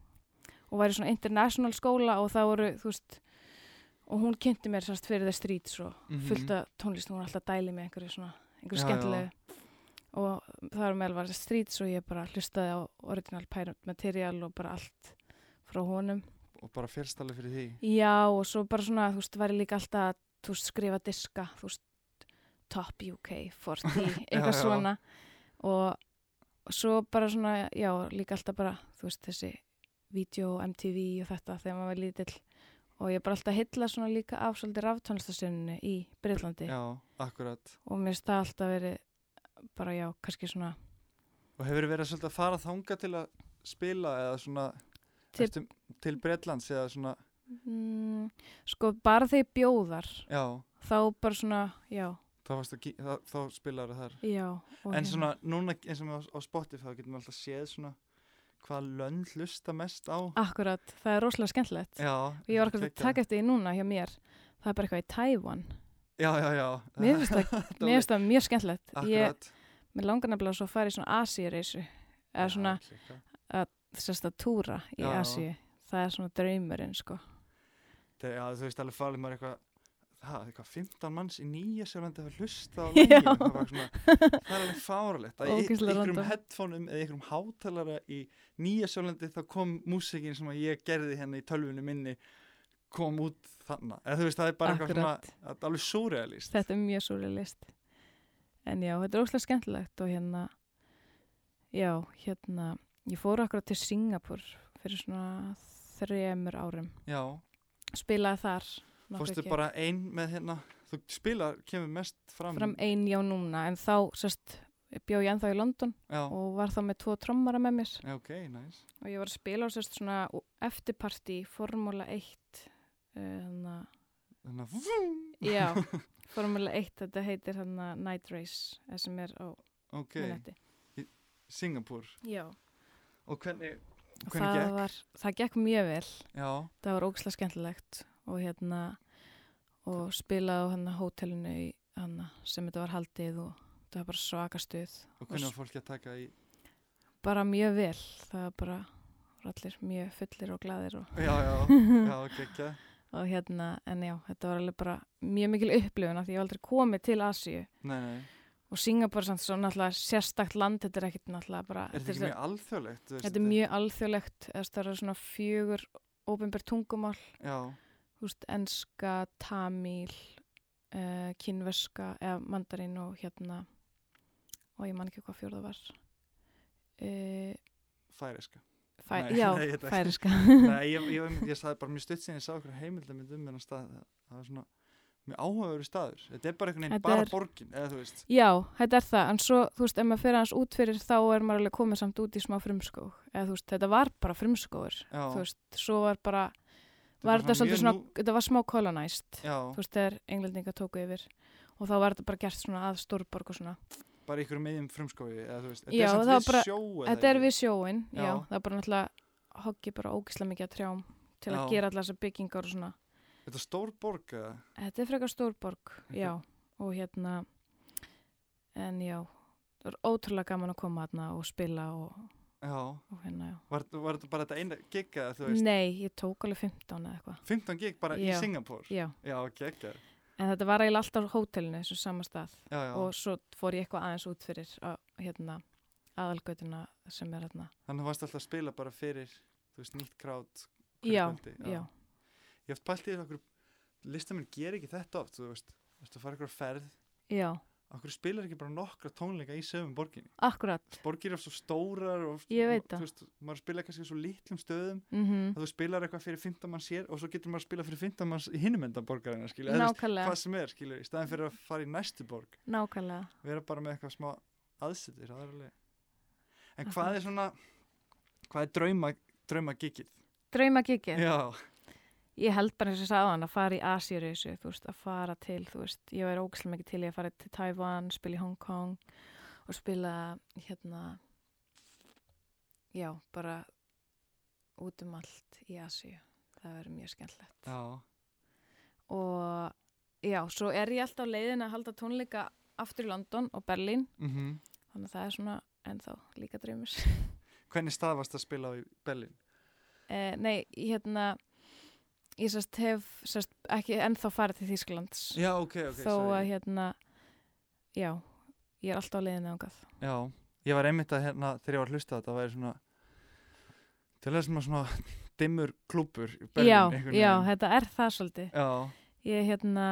Speaker 4: og var í svona international skóla og það voru, þú veist og hún kynnti mér sérst fyrir það strít svo
Speaker 3: mm
Speaker 4: fullt af tónlist, hún var alltaf að dæli með einhverju svona, einhverju
Speaker 3: Já,
Speaker 4: skemmtilegu og það var meðal var Streets og ég bara hlustaði á original pirate material og bara allt frá honum.
Speaker 3: og bara fyrstallið fyrir því
Speaker 4: Já og svo bara svona, þú veist, var ég líka alltaf að þú veist, skrifa diska, þú veist Top UK 40, eitthvað
Speaker 3: já.
Speaker 4: svona og og svo bara svona, já, líka alltaf bara þú veist, þessi vídeo, MTV og þetta þegar maður var lítill og ég bara alltaf að hylla svona líka af svolítið ráftónlistasunni í Breitlandi
Speaker 3: já, akkurat
Speaker 4: og mér finnst það alltaf verið bara já, kannski svona
Speaker 3: og hefur verið svolítið að fara þanga til að spila eða svona
Speaker 4: Til-
Speaker 3: ertu, til Breitlands eða svona
Speaker 4: mm, sko bara þegar ég bjóðar
Speaker 3: já,
Speaker 4: þá bara svona, já
Speaker 3: þá, varstu að gí- þá, þá spilar það þar
Speaker 4: já og
Speaker 3: en
Speaker 4: hérna-
Speaker 3: svona núna eins og með á, á Spotify þá getum við alltaf séð svona hvað lönd hlusta mest á
Speaker 4: Akkurat, það er rosalega skemmtilegt
Speaker 3: já,
Speaker 4: og ég var akkurat að
Speaker 3: geggjað.
Speaker 4: taka eftir því núna hjá mér það er bara eitthvað í Tævan
Speaker 3: já, já, já
Speaker 4: Mér finnst það-
Speaker 3: Þetta
Speaker 4: mér finnst það mjög skemmtilegt ég,
Speaker 3: akkurat
Speaker 4: mér langar nefnilega svo að fara í svona Asíu-reisu eða svona
Speaker 3: já, klikkað.
Speaker 4: sérst að túra í
Speaker 3: Já.
Speaker 4: Asíu það er svona draumurinn sko
Speaker 3: Þetta er- já, þú veist alveg farið maður eitthvað Það, eitthvað 15 manns í nýja sjálfandi að hlusta á
Speaker 4: Já.
Speaker 3: lengi það, var bara svona, það er alveg fáralegt að í-
Speaker 4: Ógeðslega
Speaker 3: einhverjum
Speaker 4: random.
Speaker 3: headphoneum eða einhverjum hátalara í nýja sjálfandi þá kom músikin sem að ég gerði hérna í tölvunni minni kom út þannig eða þú veist það er bara eitthvað svona,
Speaker 4: Akkurat.
Speaker 3: það er alveg súrealist
Speaker 4: þetta er mjög súri list en já, þetta er óslega skemmtilegt og hérna já, hérna ég fór akkurat til Singapur fyrir svona þremur árum
Speaker 3: já,
Speaker 4: spilaði þar nokkra
Speaker 3: fórstu
Speaker 4: gig.
Speaker 3: bara ein með hérna þú spilar, kemur mest fram,
Speaker 4: fram ein já núna en þá sérst bjó ég ennþá í London
Speaker 3: já,
Speaker 4: og var þá með tvo trommara með mér
Speaker 3: já, ok, nice
Speaker 4: og ég var að spila á sérst svona eftirparti Formúla 1 þannig að
Speaker 3: þannig að, vum,
Speaker 4: Já, Formúla 1, þetta heitir hann Night Race, það sem er á
Speaker 3: ok,
Speaker 4: minnati.
Speaker 3: Singapur
Speaker 4: Já,
Speaker 3: og hvernig,
Speaker 4: og
Speaker 3: hvernig
Speaker 4: það
Speaker 3: gekk,
Speaker 4: var, það gekk mjög vel,
Speaker 3: já,
Speaker 4: það var ógislega skemmtilegt og hérna, og spilaði á hann hótelinu í hann sem þetta var haldið og það var bara svaka stuð.
Speaker 3: og hvernig var fólki að taka í
Speaker 4: Bara mjög vel, það var bara voru allir mjög fullir og gladir og,
Speaker 3: já, já, já, gekkja
Speaker 4: og hérna, en já, þetta var alveg bara mjög mikil upplifun af því ég var aldrei komið til Asíu
Speaker 3: nei, nei,
Speaker 4: og Singapur er samt svo náttúrulega sérstakt land, þetta er ekkert náttúrulega bara...
Speaker 3: er þetta
Speaker 4: er
Speaker 3: ekki mjög alþjóðlegt þú veist,
Speaker 4: Þetta er mjög alþjóðlegt, eða það eru svona fjögur óbynbær tungumál,
Speaker 3: já,
Speaker 4: þú veist, enska, tamíl, uh, kínverska, eða mandarín og hérna, og ég man ekki hvað fjórða var. Uh,
Speaker 3: færiska
Speaker 4: fæ,
Speaker 3: Nei,
Speaker 4: já,
Speaker 3: nei, ég veit ekki.
Speaker 4: færiska.
Speaker 3: nei, ég, ég, ég, ég saði bara mjög stutt síðan ég sá okkur heimildamind um hennar stað það, það var svona mjög áhugaveru staður þetta er bara einhvern veginn,
Speaker 4: Þetta
Speaker 3: bara
Speaker 4: er-
Speaker 3: borgin eða þú veist,
Speaker 4: já, þetta er það, en svo, þú veist, ef maður fer hans út fyrir þá er maður alveg komið samt út í smá frumskóg, eða þú veist, þetta var bara frumskógur,
Speaker 3: já,
Speaker 4: þú veist, svo var bara,
Speaker 3: er
Speaker 4: var
Speaker 3: bara
Speaker 4: þetta
Speaker 3: svona
Speaker 4: svolítið svona,
Speaker 3: mjög
Speaker 4: þetta var smá colonized.
Speaker 3: já,
Speaker 4: þú veist, þegar englendinga tóku yfir og þá var þetta bara gert svona að stórborg og svona.
Speaker 3: bara einhverjum meðjum frumskói eða þú veist, þetta
Speaker 4: Já,
Speaker 3: er
Speaker 4: það var
Speaker 3: samt
Speaker 4: bara-
Speaker 3: við sjó eða
Speaker 4: Þetta er
Speaker 3: ekki?
Speaker 4: við sjóin, já.
Speaker 3: Já.
Speaker 4: það er bara náttúrulega hoggi bara ógislega mikið að trjám til að
Speaker 3: Já.
Speaker 4: gera allar þessar byggingar og svona.
Speaker 3: þetta er stór borg eða,
Speaker 4: Þetta er frekar stórborg,
Speaker 3: Þetta-
Speaker 4: já, og hérna, en já, það er ótrúlega gaman að koma hérna og spila og,
Speaker 3: já,
Speaker 4: og hérna, já.
Speaker 3: var, var þetta bara þetta eina gig eða þú veist,
Speaker 4: Nei, ég tók alveg 15 eða eitthvað,
Speaker 3: 15 gig bara
Speaker 4: Já.
Speaker 3: í Singapur
Speaker 4: já,
Speaker 3: já, gekkja,
Speaker 4: en þetta var eiginlega alltaf á hótelinu, þessu sama stað
Speaker 3: já, já
Speaker 4: og svo fór ég eitthvað aðeins út fyrir á, hérna, aðalgötuna sem er hérna.
Speaker 3: þannig að varst alltaf að spila bara fyrir þú veist, nýtt krát hverju
Speaker 4: Já,
Speaker 3: kvöldi,
Speaker 4: já,
Speaker 3: Ég hef pælt í þessu okkur, listamenn ger ekki þetta oft, þú veist, þú veist að fara ykkur ferð,
Speaker 4: já,
Speaker 3: okkur spilar ekki bara nokkra tónleika í sögum borginni.
Speaker 4: akkurat,
Speaker 3: Borgir eru svo stórar og
Speaker 4: Ég veit
Speaker 3: þú
Speaker 4: það.
Speaker 3: veist, maður spila kannski á svo lítlum stöðum
Speaker 4: mhm,
Speaker 3: að þú spilar eitthvað fyrir 15 manns hér og svo getur maður að spila fyrir 15 manns í hinum enda borgarina, skilur, eða þú veist,
Speaker 4: nákvæmlega.
Speaker 3: hvað sem er, skilur, í staðin fyrir að fara í næstu borg,
Speaker 4: Nákvæmlega.
Speaker 3: vera bara með eitthvað smá aðsettir, það er alveg. En
Speaker 4: Akkurat.
Speaker 3: hvað er svona, hvað er drauma, drauma gigið?
Speaker 4: Draumagikið.
Speaker 3: Já,
Speaker 4: Ég held bara eins og sagði hann að fara í Asíureysu, þú veist, að fara til, þú veist, ég væri ógæslega mikið til í að fara til Taiwan, spila í Hong Kong og spila, hérna, já, bara út um allt í Asíu. Það verður mjög skemmtilegt.
Speaker 3: já,
Speaker 4: Og, já, svo er ég alltaf á leiðin að halda tónleika aftur í London og Berlín,
Speaker 3: mhm.
Speaker 4: þannig að það er svona ennþá líka draumur.
Speaker 3: Hvernig stað varst að spila á í Berlín?
Speaker 4: Uh, nei, hérna ég sérst hef sérst, ekki ennþá farið til Þýskalands
Speaker 3: Já, ok, ok,
Speaker 4: þó
Speaker 3: sorry.
Speaker 4: að hérna já, ég er alltaf á leiðinu ángað
Speaker 3: Já, ég var einmitt að hérna þegar ég var að hlusta á þetta væri svona til þess að svona dimmur klúpur í Berlín
Speaker 4: já,
Speaker 3: einhvern
Speaker 4: já, hérna-
Speaker 3: veginn.
Speaker 4: þetta er það svolítið
Speaker 3: já,
Speaker 4: ég hérna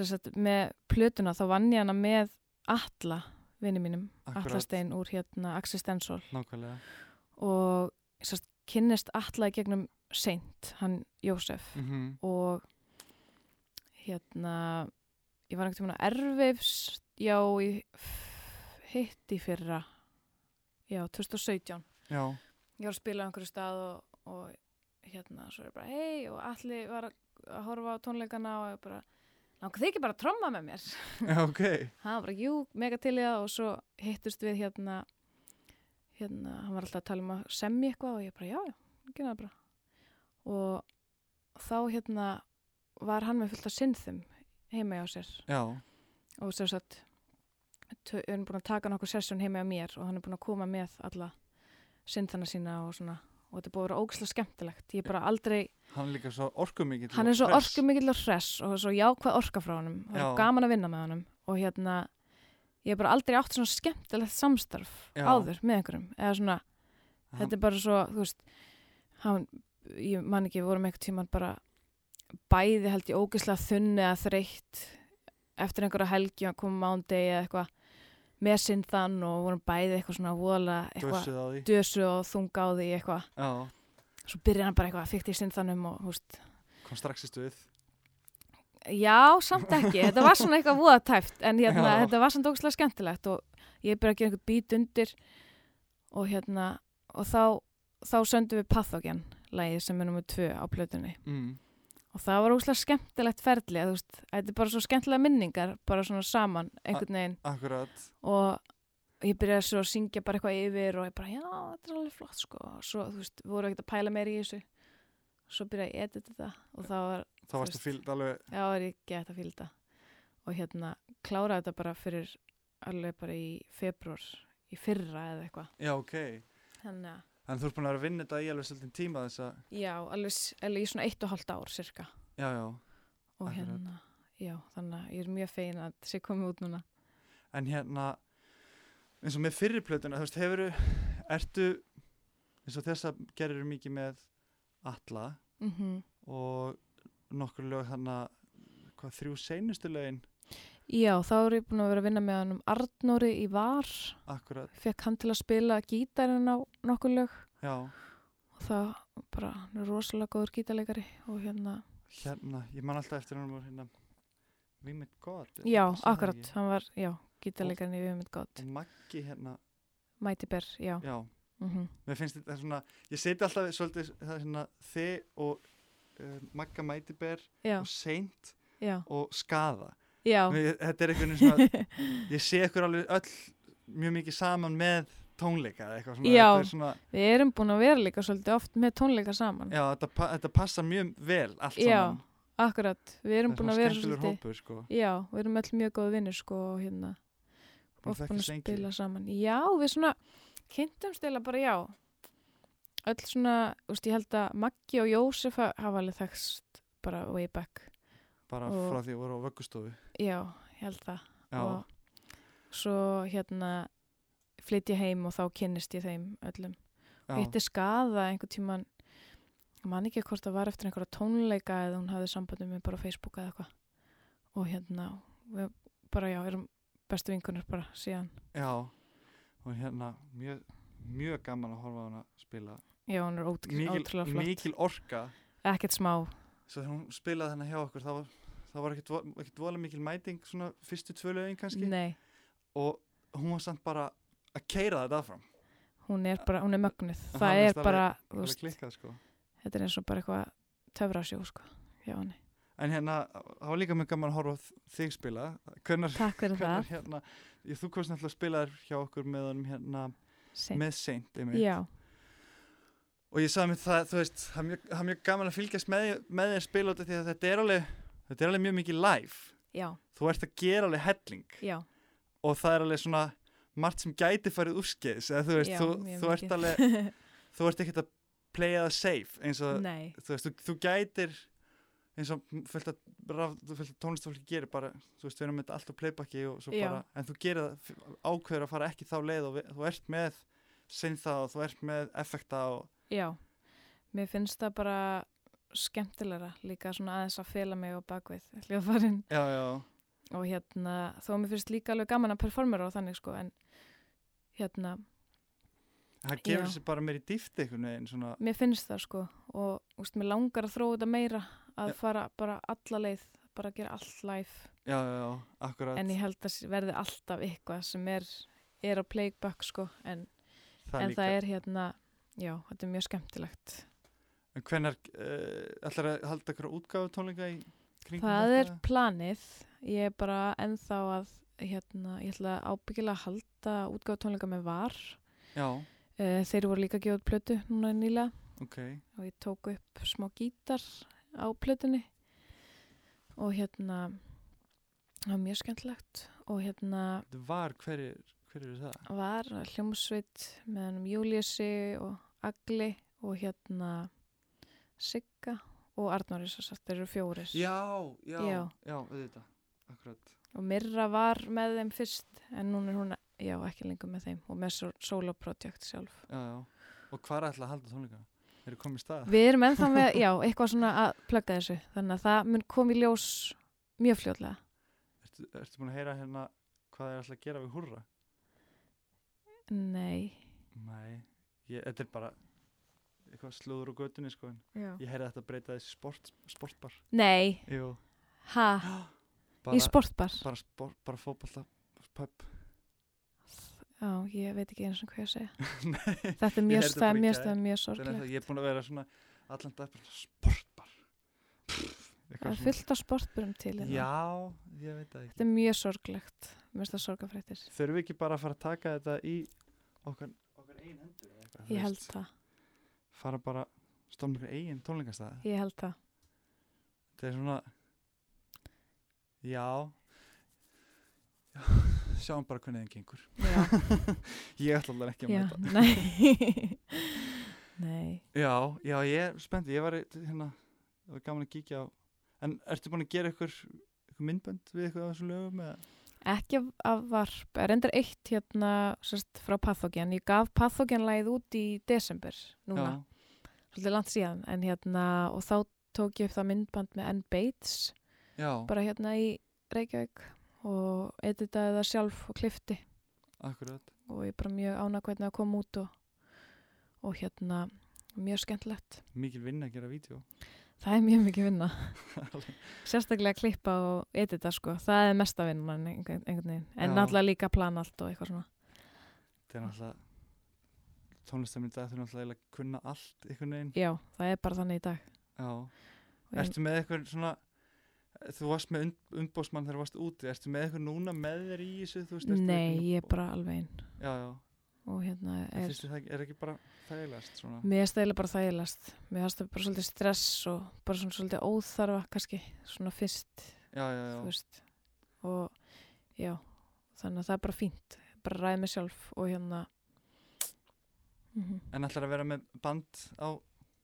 Speaker 4: sérst, með plötuna þá vann ég hana með Atla, vinni mínum
Speaker 3: Akkurat.
Speaker 4: Atla Stein úr hérna Axistensol
Speaker 3: nákvæmlega
Speaker 4: og sérst, kynnist Atla í gegnum Seint, hann Jósef
Speaker 3: mm
Speaker 4: og hérna ég var einhvern tímann að erfifs já, í hitt í fyrra já, 2017
Speaker 3: Já,
Speaker 4: ég var að spila á einhverju stað og, og hérna, svo er ég bara hei og allir var að að horfa á tónleikana og ég bara Nákvæm þið ekki bara að tromma með mér.
Speaker 3: Já, ok.
Speaker 4: hann var bara, jú, mega til í það og svo hittust við hérna hérna, hann var alltaf að tala um að semja eitthvað og ég bara, já, já, gera það bara og þá hérna var hann með fullt af synþum heima hjá sér
Speaker 3: Já,
Speaker 4: og sem sagt tö- við erum búin að taka nokkur sessjón heima hjá mér og hann er búin að koma með alla synthana sína og svona og þetta er búin að vera ógislega skemmtilegt ég er bara aldrei
Speaker 3: hann er líka svo orkumikill.
Speaker 4: hann er svo
Speaker 3: hress.
Speaker 4: orkumikill og hress og svo jákvæð orka frá honum og það er
Speaker 3: Já.
Speaker 4: gaman að vinna með honum og hérna ég hef bara aldrei átt svona skemmtilegt samstarf
Speaker 3: Já.
Speaker 4: áður með einhverjum eða svona,
Speaker 3: Hann-
Speaker 4: þetta er bara svo þú veist, hann, ég man ekki við vorum einhvern tímann bara bæði held ég ógeðslega þunni eða þreytt eftir einhverja helgi og komum mándegi eða eitthvað með sinn þann og vorum bæði eitthvað svona vola, eitthvað
Speaker 3: Dössuð á því.
Speaker 4: dösu og þunga á því eitthvað,
Speaker 3: Já,
Speaker 4: svo byrja hann bara eitthvað fyrkt í sinn þannum og þú veist,
Speaker 3: kom strax í stuð.
Speaker 4: Já, samt ekki. Þetta var svona eitthvað voða tæft, en hérna,
Speaker 3: Já.
Speaker 4: þetta var samt ógæslega skemmtilegt og ég byrja að gera einhvern bít undir og hérna, og þá, þá söndum við Pathogen, lagið sem er nummið tvö á plötunni.
Speaker 3: Mm.
Speaker 4: Og það var ógæslega skemmtilegt ferli, að, þú veist, þetta er bara svo skemmtilega minningar, bara svona saman, einhvern veginn.
Speaker 3: Akkurat.
Speaker 4: Og ég byrjaði svo að syngja bara eitthvað yfir og ég bara, já, þetta er alveg flott, sko. Og svo, þú veist, við vorum ekkert að pæla meir í þessu. Svo byrjaði ég að edita þetta og þá var
Speaker 3: Þá varstu
Speaker 4: veist.
Speaker 3: fíld alveg,
Speaker 4: Já, það er ekki hægt að fíla þetta. Og hérna, kláraði þetta bara fyrir alveg bara í februar, í fyrra eða eitthvað.
Speaker 3: já, ok.
Speaker 4: Þannig að,
Speaker 3: En þú ert búin að vera að vinna þetta í alveg svolítið tíma þess að,
Speaker 4: já, alveg, s- alveg í svona eitt og halvt ár cirka.
Speaker 3: já, já.
Speaker 4: Og
Speaker 3: Akkurat.
Speaker 4: hérna, já, þannig að ég er mjög fegin að þetta sé komið út núna.
Speaker 3: En hérna, eins og með fyrri plötuna, þú veist, hefur, ertu, eins og þess að gerir mikið með alla
Speaker 4: Mm
Speaker 3: og nokkur lög þarna, hvað, þrjú seinustu lögin,
Speaker 4: Já, þá er ég búin að vera að vinna með hann um Arnóri í Var.
Speaker 3: akkurat,
Speaker 4: Fekk hann til að spila gítarinn á nokkur lög.
Speaker 3: já,
Speaker 4: Og það bara, hann er rosalega góður gítarleikari og hérna,
Speaker 3: hérna, ég man alltaf eftir hann var hérna, Vimit God. er
Speaker 4: já,
Speaker 3: það sem það
Speaker 4: akkurat,
Speaker 3: ekki?
Speaker 4: hann var, já, gítarleikarinn í Viðmynd gott.
Speaker 3: Og Maggi hérna,
Speaker 4: Mighty Bear, já.
Speaker 3: já,
Speaker 4: Mm
Speaker 3: mér finnst þetta svona, ég seti alltaf svolítið, það er svona, þið og uh, Magga Mætiber
Speaker 4: Já,
Speaker 3: og Seint
Speaker 4: já,
Speaker 3: og Skaða.
Speaker 4: já,
Speaker 3: Mér, þetta er einhvern veginn svona, ég sé ykkur alveg öll mjög mikið saman með tónleika eða eitthvað svona,
Speaker 4: Já.
Speaker 3: þetta, er svona
Speaker 4: við erum búin að vera líka svolítið oft með tónleika saman,
Speaker 3: já, þetta, pa- þetta passa mjög vel allt
Speaker 4: Já,
Speaker 3: saman
Speaker 4: akkurat, við erum búin að vera
Speaker 3: svolítið
Speaker 4: svolítið,
Speaker 3: hópur, sko.
Speaker 4: já, við erum öll mjög góð vinnir sko og hérna,
Speaker 3: Búin
Speaker 4: oft
Speaker 3: að
Speaker 4: búin að
Speaker 3: þekkjast lengi.
Speaker 4: spila saman, já, við svona, kynntumst eða bara já, öll svona, úst, ég held að Maggi og Jósef ha- hafa alveg þekst bara way back,
Speaker 3: bara
Speaker 4: og-
Speaker 3: frá því að voru á vöggustofu
Speaker 4: já, ég held það,
Speaker 3: já,
Speaker 4: og svo hérna flytt ég heim og þá kynnist ég þeim öllum.
Speaker 3: já,
Speaker 4: hitti skaða einhvern tíman man ekki hvort það var eftir einhverja tónleika eða hún hafði sambandi með bara á Facebook eða eitthvað og hérna við bara já, erum bestu vingunir bara síðan,
Speaker 3: já og hérna, mjög, mjög gaman að horfa á hana spila
Speaker 4: já hún er ótrú- ótrúlega
Speaker 3: mikil,
Speaker 4: flott,
Speaker 3: mikil orka
Speaker 4: ekkert smá
Speaker 3: svo þegar hún spilaði hérna hjá okkur það var, það var ekkit, vo- ekkit voðalega mikil mæting svona fyrstu tvöluðin kannski
Speaker 4: nei,
Speaker 3: og hún var samt bara að keira þetta áfram
Speaker 4: hún er bara, hún er mögnuð
Speaker 3: En
Speaker 4: það
Speaker 3: hann
Speaker 4: er
Speaker 3: veist alveg-
Speaker 4: bara, þú
Speaker 3: alveg
Speaker 4: veist,
Speaker 3: klikkað sko
Speaker 4: þetta er eins og bara eitthvað töfrasjó sko, já henni
Speaker 3: En hérna, það var líka mjög gaman að horfa á þ- þig spila. Hvernar,
Speaker 4: takk fyrir
Speaker 3: hvernar
Speaker 4: það,
Speaker 3: hérna, ég, þú komst náttúrulega að spila þér hjá okkur með honum hérna,
Speaker 4: Seint.
Speaker 3: með seint, einmitt.
Speaker 4: já,
Speaker 3: Og ég sagði mér það, þú veist, það er mjög, það er mjög gaman að fylgjast með, þér- með þér spila út af því að þetta er alveg, þetta er alveg mjög mikið live.
Speaker 4: já,
Speaker 3: Þú ert að gera alveg helling
Speaker 4: já
Speaker 3: og það er alveg svona margt sem gæti farið úrskeiðis, eða þú veist,
Speaker 4: Já,
Speaker 3: þú,
Speaker 4: mjög
Speaker 3: þú ert
Speaker 4: mikið.
Speaker 3: alveg, þú ert ekkert að playa það safe eins og,
Speaker 4: nei,
Speaker 3: þú veist, þú, þú gætir eins og fullt að, raf- fullt að tónlistafólki gerir bara, þú veist, við erum með þetta allt á playbacki og svo
Speaker 4: Já.
Speaker 3: bara, en þú gerir það f- ákveður að fara ekki þá leið og við, þú ert með sinn það og þú ert með effekta og,
Speaker 4: Já, mér finnst það bara skemmtilegra líka svona aðeins að fela mig á bakvið hljóðfærin
Speaker 3: já, já,
Speaker 4: og hérna þó mér finnst líka alveg gaman að performera og þannig sko en hérna
Speaker 3: það gefur
Speaker 4: Já.
Speaker 3: sér bara meir í dýfti einhvern veginn, svona,
Speaker 4: mér finnst það sko og úst, mér langar að þróa þetta meira að
Speaker 3: Já.
Speaker 4: fara bara alla leið bara að gera allt live
Speaker 3: já, já, já, akkurat
Speaker 4: en ég held að sé- verði alltaf eitthvað sem er, er á playback sko en,
Speaker 3: það
Speaker 4: en
Speaker 3: líka,
Speaker 4: það er hérna já, þetta er mjög skemmtilegt
Speaker 3: eh, en hvenar uh, ætlar að halda ykkur útgáfu tónleika í kringum
Speaker 4: Það
Speaker 3: þetta?
Speaker 4: er planið. Ég er bara ennþá að, hérna, ég ætla ábyggilega að halda útgáð tónleika með var.
Speaker 3: Já,
Speaker 4: Uh, þeir voru líka að gefa út plötu núna nýlega
Speaker 3: ok,
Speaker 4: og ég tók upp smá gítar á plötunni og hérna, það var mjög skemmtlegt og hérna
Speaker 3: þetta var hverjir, hverjir eru það?
Speaker 4: var hljómsveit með hannum Júliusi og Agli og hérna Sigga og Arnóris og satt, þeir eru fjóris.
Speaker 3: Já, já, já,
Speaker 4: Já.
Speaker 3: já auðvitað, akkurat
Speaker 4: og Mirra var með þeim fyrst en núna er hún, já ekki lengur með þeim og með svo- solo project sjálf
Speaker 3: Já, já, og hvað er alltaf að halda tónleika? Er það komið stað?
Speaker 4: við erum ennþá með, já, eitthvað svona að plugga þessu, þannig að það mun kom í ljós mjög fljótlega
Speaker 3: Ertu, ertu búin að heyra hérna hvað er alltaf að gera við húrra?
Speaker 4: nei,
Speaker 3: Nei, ég, þetta er bara eitthvað slúður á götunni sko en
Speaker 4: já.
Speaker 3: ég heyrði að þetta breyta þessi sport, sportbar
Speaker 4: nei,
Speaker 3: Jú,
Speaker 4: ha í
Speaker 3: bara,
Speaker 4: sportbar
Speaker 3: bara, sport, bara fótballta pub
Speaker 4: já, ég veit ekki eins og hvað ég að segja
Speaker 3: Nei,
Speaker 4: þetta er
Speaker 3: Ég
Speaker 4: mjög,
Speaker 3: heyrði
Speaker 4: það
Speaker 3: bara
Speaker 4: er
Speaker 3: í
Speaker 4: mjög,
Speaker 3: gær.
Speaker 4: það er
Speaker 3: það
Speaker 4: mjög
Speaker 3: er
Speaker 4: sorglegt
Speaker 3: það, ég er búin að vera svona allan dag bara sportbar Pff,
Speaker 4: það
Speaker 3: eitthvað
Speaker 4: er
Speaker 3: svona.
Speaker 4: fullt af sportburum til hérna.
Speaker 3: Já, ég veit það
Speaker 4: þetta
Speaker 3: ekki
Speaker 4: er mjög sorglegt, mér finnst það sorgafrættir
Speaker 3: Þurfum við ekki bara að fara að taka þetta í okkar, okkar eigin hendur eða eitthvað, þú
Speaker 4: ég held
Speaker 3: veist?
Speaker 4: það,
Speaker 3: Fara bara stofna ykkur eigin tónleikastæði
Speaker 4: ég held það
Speaker 3: Þetta er svona Já Já, sjáum bara hvernig það gengur
Speaker 4: já,
Speaker 3: Ég ætla alveg ekki að
Speaker 4: já,
Speaker 3: mæta
Speaker 4: nei nei
Speaker 3: Já, já, ég er spennt Ég var í- hérna, það var gaman að kíkja á En ertu búin að gera ykkur, ykkur myndbönd við eitthvað á þessum lögum? Eða?
Speaker 4: ekki af, af varp, er endur eitt hérna sérst, frá Pathogen ég gaf Pathogen lagið út í desember núna, svolítið langt síðan en hérna, og þá tók ég upp það myndband með N. Bates
Speaker 3: Já, já,
Speaker 4: bara hérna í Reykjavík og editaði það sjálf og klifti
Speaker 3: akkurat
Speaker 4: og ég er bara mjög ánað hvernig það kom út og, og hérna, mjög skemmtilegt
Speaker 3: Mikil vinna að gera vídeo
Speaker 4: það er mjög mikið vinna sérstaklega að klippa og edita sko, það er mesta vinna einhvern einhvern veginn, en
Speaker 3: Já.
Speaker 4: náttúrulega líka að plana allt og eitthvað svona
Speaker 3: Þetta er náttúrulega Tónlistaminn í dag þurfum náttúrulega að kunna allt einhvern veginn
Speaker 4: já, það er bara þannig í dag
Speaker 3: Já
Speaker 4: Og ég-
Speaker 3: Ertu með eitthvað svona Þú varst með und, umbósmann þegar þú varst úti Ertu með eitthvað núna með þér í þessu? Þú veist, ertu
Speaker 4: Nei,
Speaker 3: búin að-
Speaker 4: ég er bara alveg einn
Speaker 3: Já, já,
Speaker 4: og hérna
Speaker 3: er,
Speaker 4: er, Mm,
Speaker 3: finnst þér það ekki, er ekki bara þægilegast svona
Speaker 4: mér er stæðilega bara þægilegast mér fannst það bara svolítið stress og bara svona svolítið óþarfa kannski svona fyrst,
Speaker 3: Já, já,
Speaker 4: þú
Speaker 3: já,
Speaker 4: veist og já, þannig að það er bara fínt bara ræði mig sjálf og hérna mm
Speaker 3: en ætlar að vera með band á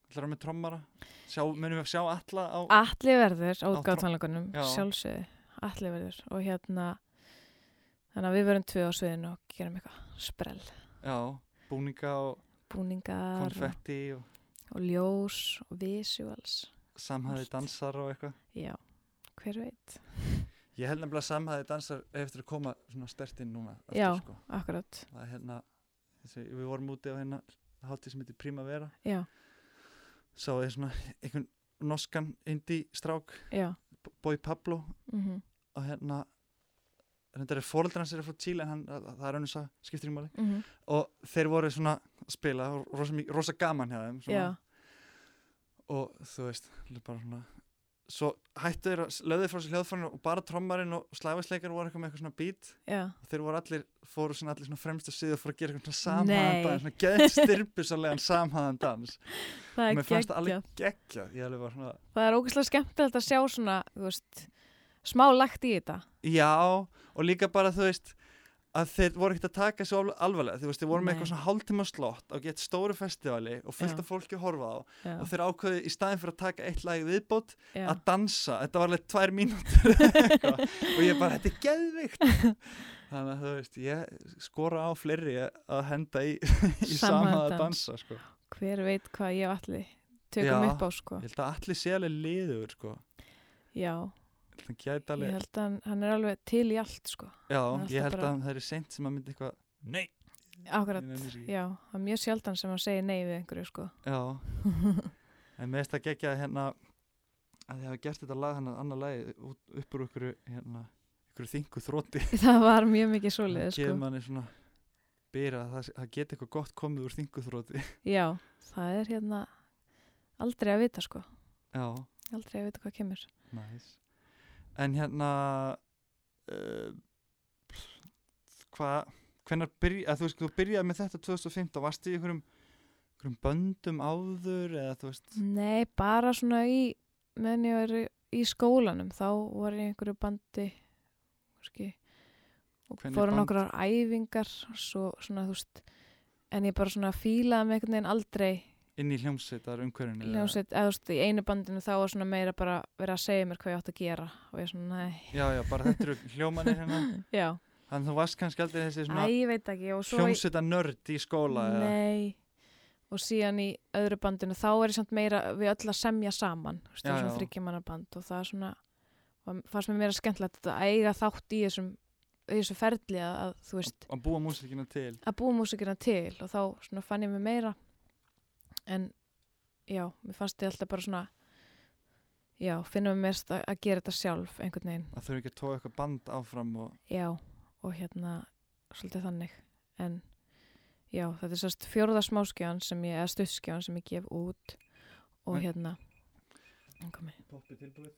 Speaker 3: ætlar að vera með trommara sjá, munum við að sjá alla á
Speaker 4: Alli verður á
Speaker 3: Á tró-
Speaker 4: útgáðtanleikunum
Speaker 3: Já.
Speaker 4: sjálfsögði, alli verður og hérna þannig að við verðum tvö á sviðinu og gerum eitthvað sprell,
Speaker 3: Já, búninga og
Speaker 4: búningar og,
Speaker 3: konfetti og
Speaker 4: og ljós og visuals
Speaker 3: samhæði
Speaker 4: Allt.
Speaker 3: dansar og eitthvað
Speaker 4: Já, hver veit
Speaker 3: Ég held nefnilega að samhæði dansar eigi eftir að koma svona stert inn núna eftir,
Speaker 4: Já.
Speaker 3: sko.
Speaker 4: Akkurat,
Speaker 3: það er hérna þessi, við vorum úti á hérna hátíð sem heitir Primavera
Speaker 4: já,
Speaker 3: sá ég svona einhvern norskan indie strák
Speaker 4: já
Speaker 3: Boy Pablo
Speaker 4: mm -hmm,
Speaker 3: og hérna þetta er fóreldra hans er frá Tíli en hann, það er önnur sá, skiptir í máli
Speaker 4: mhm.
Speaker 3: og þeir voru svona að spila og rosa, mik- rosa gaman hjá þeim svona,
Speaker 4: Já,
Speaker 3: og þú veist, þetta er bara svona svo hættu þeir að löðu frá sér hljóðfærinu og bara trommarinn og slæfisleikar voru eitthvað með eitthvað svona beat
Speaker 4: já,
Speaker 3: og þeir voru allir, fóru svona allir svona fremst að síðu og fóru að gera eitthvað svona
Speaker 4: Nei.
Speaker 3: samhæðan dans svona geðin styrpisalega samhæðan dans
Speaker 4: það er
Speaker 3: mér fannst það
Speaker 4: geggjað
Speaker 3: alveg geggja ég alveg var svona,
Speaker 4: Það er ógeðslega skemmtilegt að sjá svona, þú veist, smá lagt í þetta
Speaker 3: já og líka bara þú veist að þeir voru ekkert að taka svo alv- alvarlega þú veist, þeir voru með
Speaker 4: Nei.
Speaker 3: eitthvað svona hálftíma slott á gett stóru festivali og fullt
Speaker 4: Já.
Speaker 3: af fólki að horfa á
Speaker 4: Já,
Speaker 3: og þeir ákveðu í staðin fyrir að taka eitt lag í viðbót
Speaker 4: já,
Speaker 3: að dansa, þetta var alveg tvær mínútur eitthvað. og ég bara, þetta er geðvikt þannig að þú veist ég skora á fleiri að henda í, í sama
Speaker 4: Samhæfða
Speaker 3: að
Speaker 4: dans.
Speaker 3: dansa sko. ég
Speaker 4: hver veit hvað ég og allir tökum
Speaker 3: Já.
Speaker 4: upp á, sko
Speaker 3: held að allir sé alveg liður sko.
Speaker 4: Já,
Speaker 3: Ég held að hann gæti
Speaker 4: ég
Speaker 3: alveg,
Speaker 4: held að hann, hann er alveg til í allt, sko
Speaker 3: já,
Speaker 4: held að
Speaker 3: ég held
Speaker 4: bara-
Speaker 3: að það er seint sem að myndi eitthvað nei,
Speaker 4: Akkurat,
Speaker 3: Ég nenni þessu ekki.
Speaker 4: já, það er mjög sjaldan sem hann segir nei við einhverju, sko
Speaker 3: já en mér finnst að gegja hérna að þið hafa gert þetta lag hann að annar lagi út, upp úr ykkur hérna, ykkur þingu þróti
Speaker 4: Það var mjög mikið
Speaker 3: það
Speaker 4: svoleiðið, sko
Speaker 3: gefur manni svona byrja að það, það geti eitthvað gott komið úr þingu þróti
Speaker 4: Já, það er hérna aldrei að vita, sko
Speaker 3: já
Speaker 4: Aldrei að vita hvað kemur
Speaker 3: Næs. en hérna uh, hvað hvenar byrja, að þú veist, þú byrjaði með þetta 2015, varstu í einhverjum einhverjum böndum áður eða þú veist,
Speaker 4: Nei, bara svona í meðan ég var í- í skólanum þá var ég í einhverju bandi kannski og
Speaker 3: Hvernig
Speaker 4: fóru
Speaker 3: band?
Speaker 4: nokkrar æfingar svo svona þú veist en ég bara svona fílaði með einhvern veginn aldrei
Speaker 3: inn í hljómsveitar umhverjunu
Speaker 4: hljómsveit, eða þú veist, í einu bandinu þá var svona meira bara verið að segja mér hvað ég átt að gera og ég svona, nei,
Speaker 3: já, já, bara þetta eru hljómanir hérna
Speaker 4: já
Speaker 3: þannig að þú varst kannski aldrei þessi
Speaker 4: Æ,
Speaker 3: svona
Speaker 4: ég veit ekki og svo í-
Speaker 3: hljómsveitar nörd í skóla eða,
Speaker 4: Nei, og síðan í öðru bandinu þá er ég samt meira við öll að semja saman, þú veist, það
Speaker 3: Já, já.
Speaker 4: er svona þryggjumannaband og það er svona, var- fannst mér meira skemmtilegt að eiga þátt í þessum, í þessu ferli að, að þú veist,
Speaker 3: að búa músikina til
Speaker 4: að búa músikina til og þá svona fann ég mig meira en já, mér fannst ég alltaf bara svona já, finna mig mest að, að gera þetta sjálf einhvern veginn,
Speaker 3: að þau eru ekki að tóa eitthvað band áfram og
Speaker 4: já og hérna, svolítið þannig en já, þetta er sérst fjórða smáskjáðan sem ég, eða stuttskjáðan sem ég gef út og
Speaker 3: En-
Speaker 4: hérna en komi.
Speaker 3: poppi tilbúið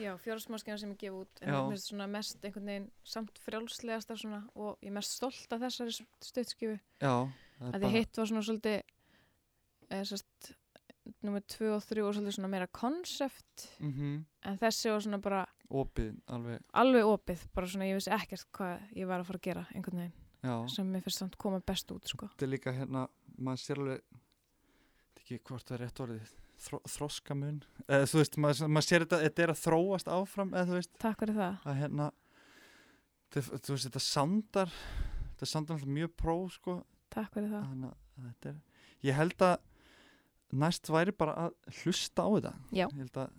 Speaker 4: Já, fjórða smáskjáðan sem ég gef út en
Speaker 3: Já.
Speaker 4: mér finnst þetta svona mest einhvern veginn samt frjálslegasta svona og ég er mest stolt af þessari stuttskjöfu
Speaker 3: já, það
Speaker 4: að því hitt var svona svolítið eða sérst nummer 2 og 3 og svolítið svona meira konsept
Speaker 3: Mhm,
Speaker 4: en þessi var svona bara
Speaker 3: opið alveg,
Speaker 4: alveg opið, bara svona ég vissi ekkert hvað ég var að fara að gera einhvern veginn
Speaker 3: já
Speaker 4: sem mér finnst samt koma best út sko.
Speaker 3: þetta er líka hérna, maður sér alveg ég veit ekki hvort það er rétt orðið Þro, þroskamun, eða þú veist maður, maður sér þetta, þetta er að þróast áfram eða þú veist,
Speaker 4: Takk fyrir það
Speaker 3: að hérna þetta, þú veist, þetta sandar þetta sandar alltaf mjög pró sko,
Speaker 4: Takk fyrir það.
Speaker 3: þannig að þetta er ég held að næst væri bara að hlusta á þetta
Speaker 4: Já.
Speaker 3: ég held að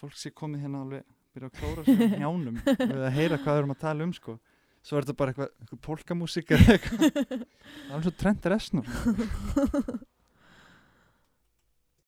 Speaker 3: fólk sé komið hérna alveg byrja að klóra sér á njánum við að heyra hvað við erum að tala um sko svo er þetta bara eitthvað, eitthvað polkamúsík eða eitthvað það er svo trend resnur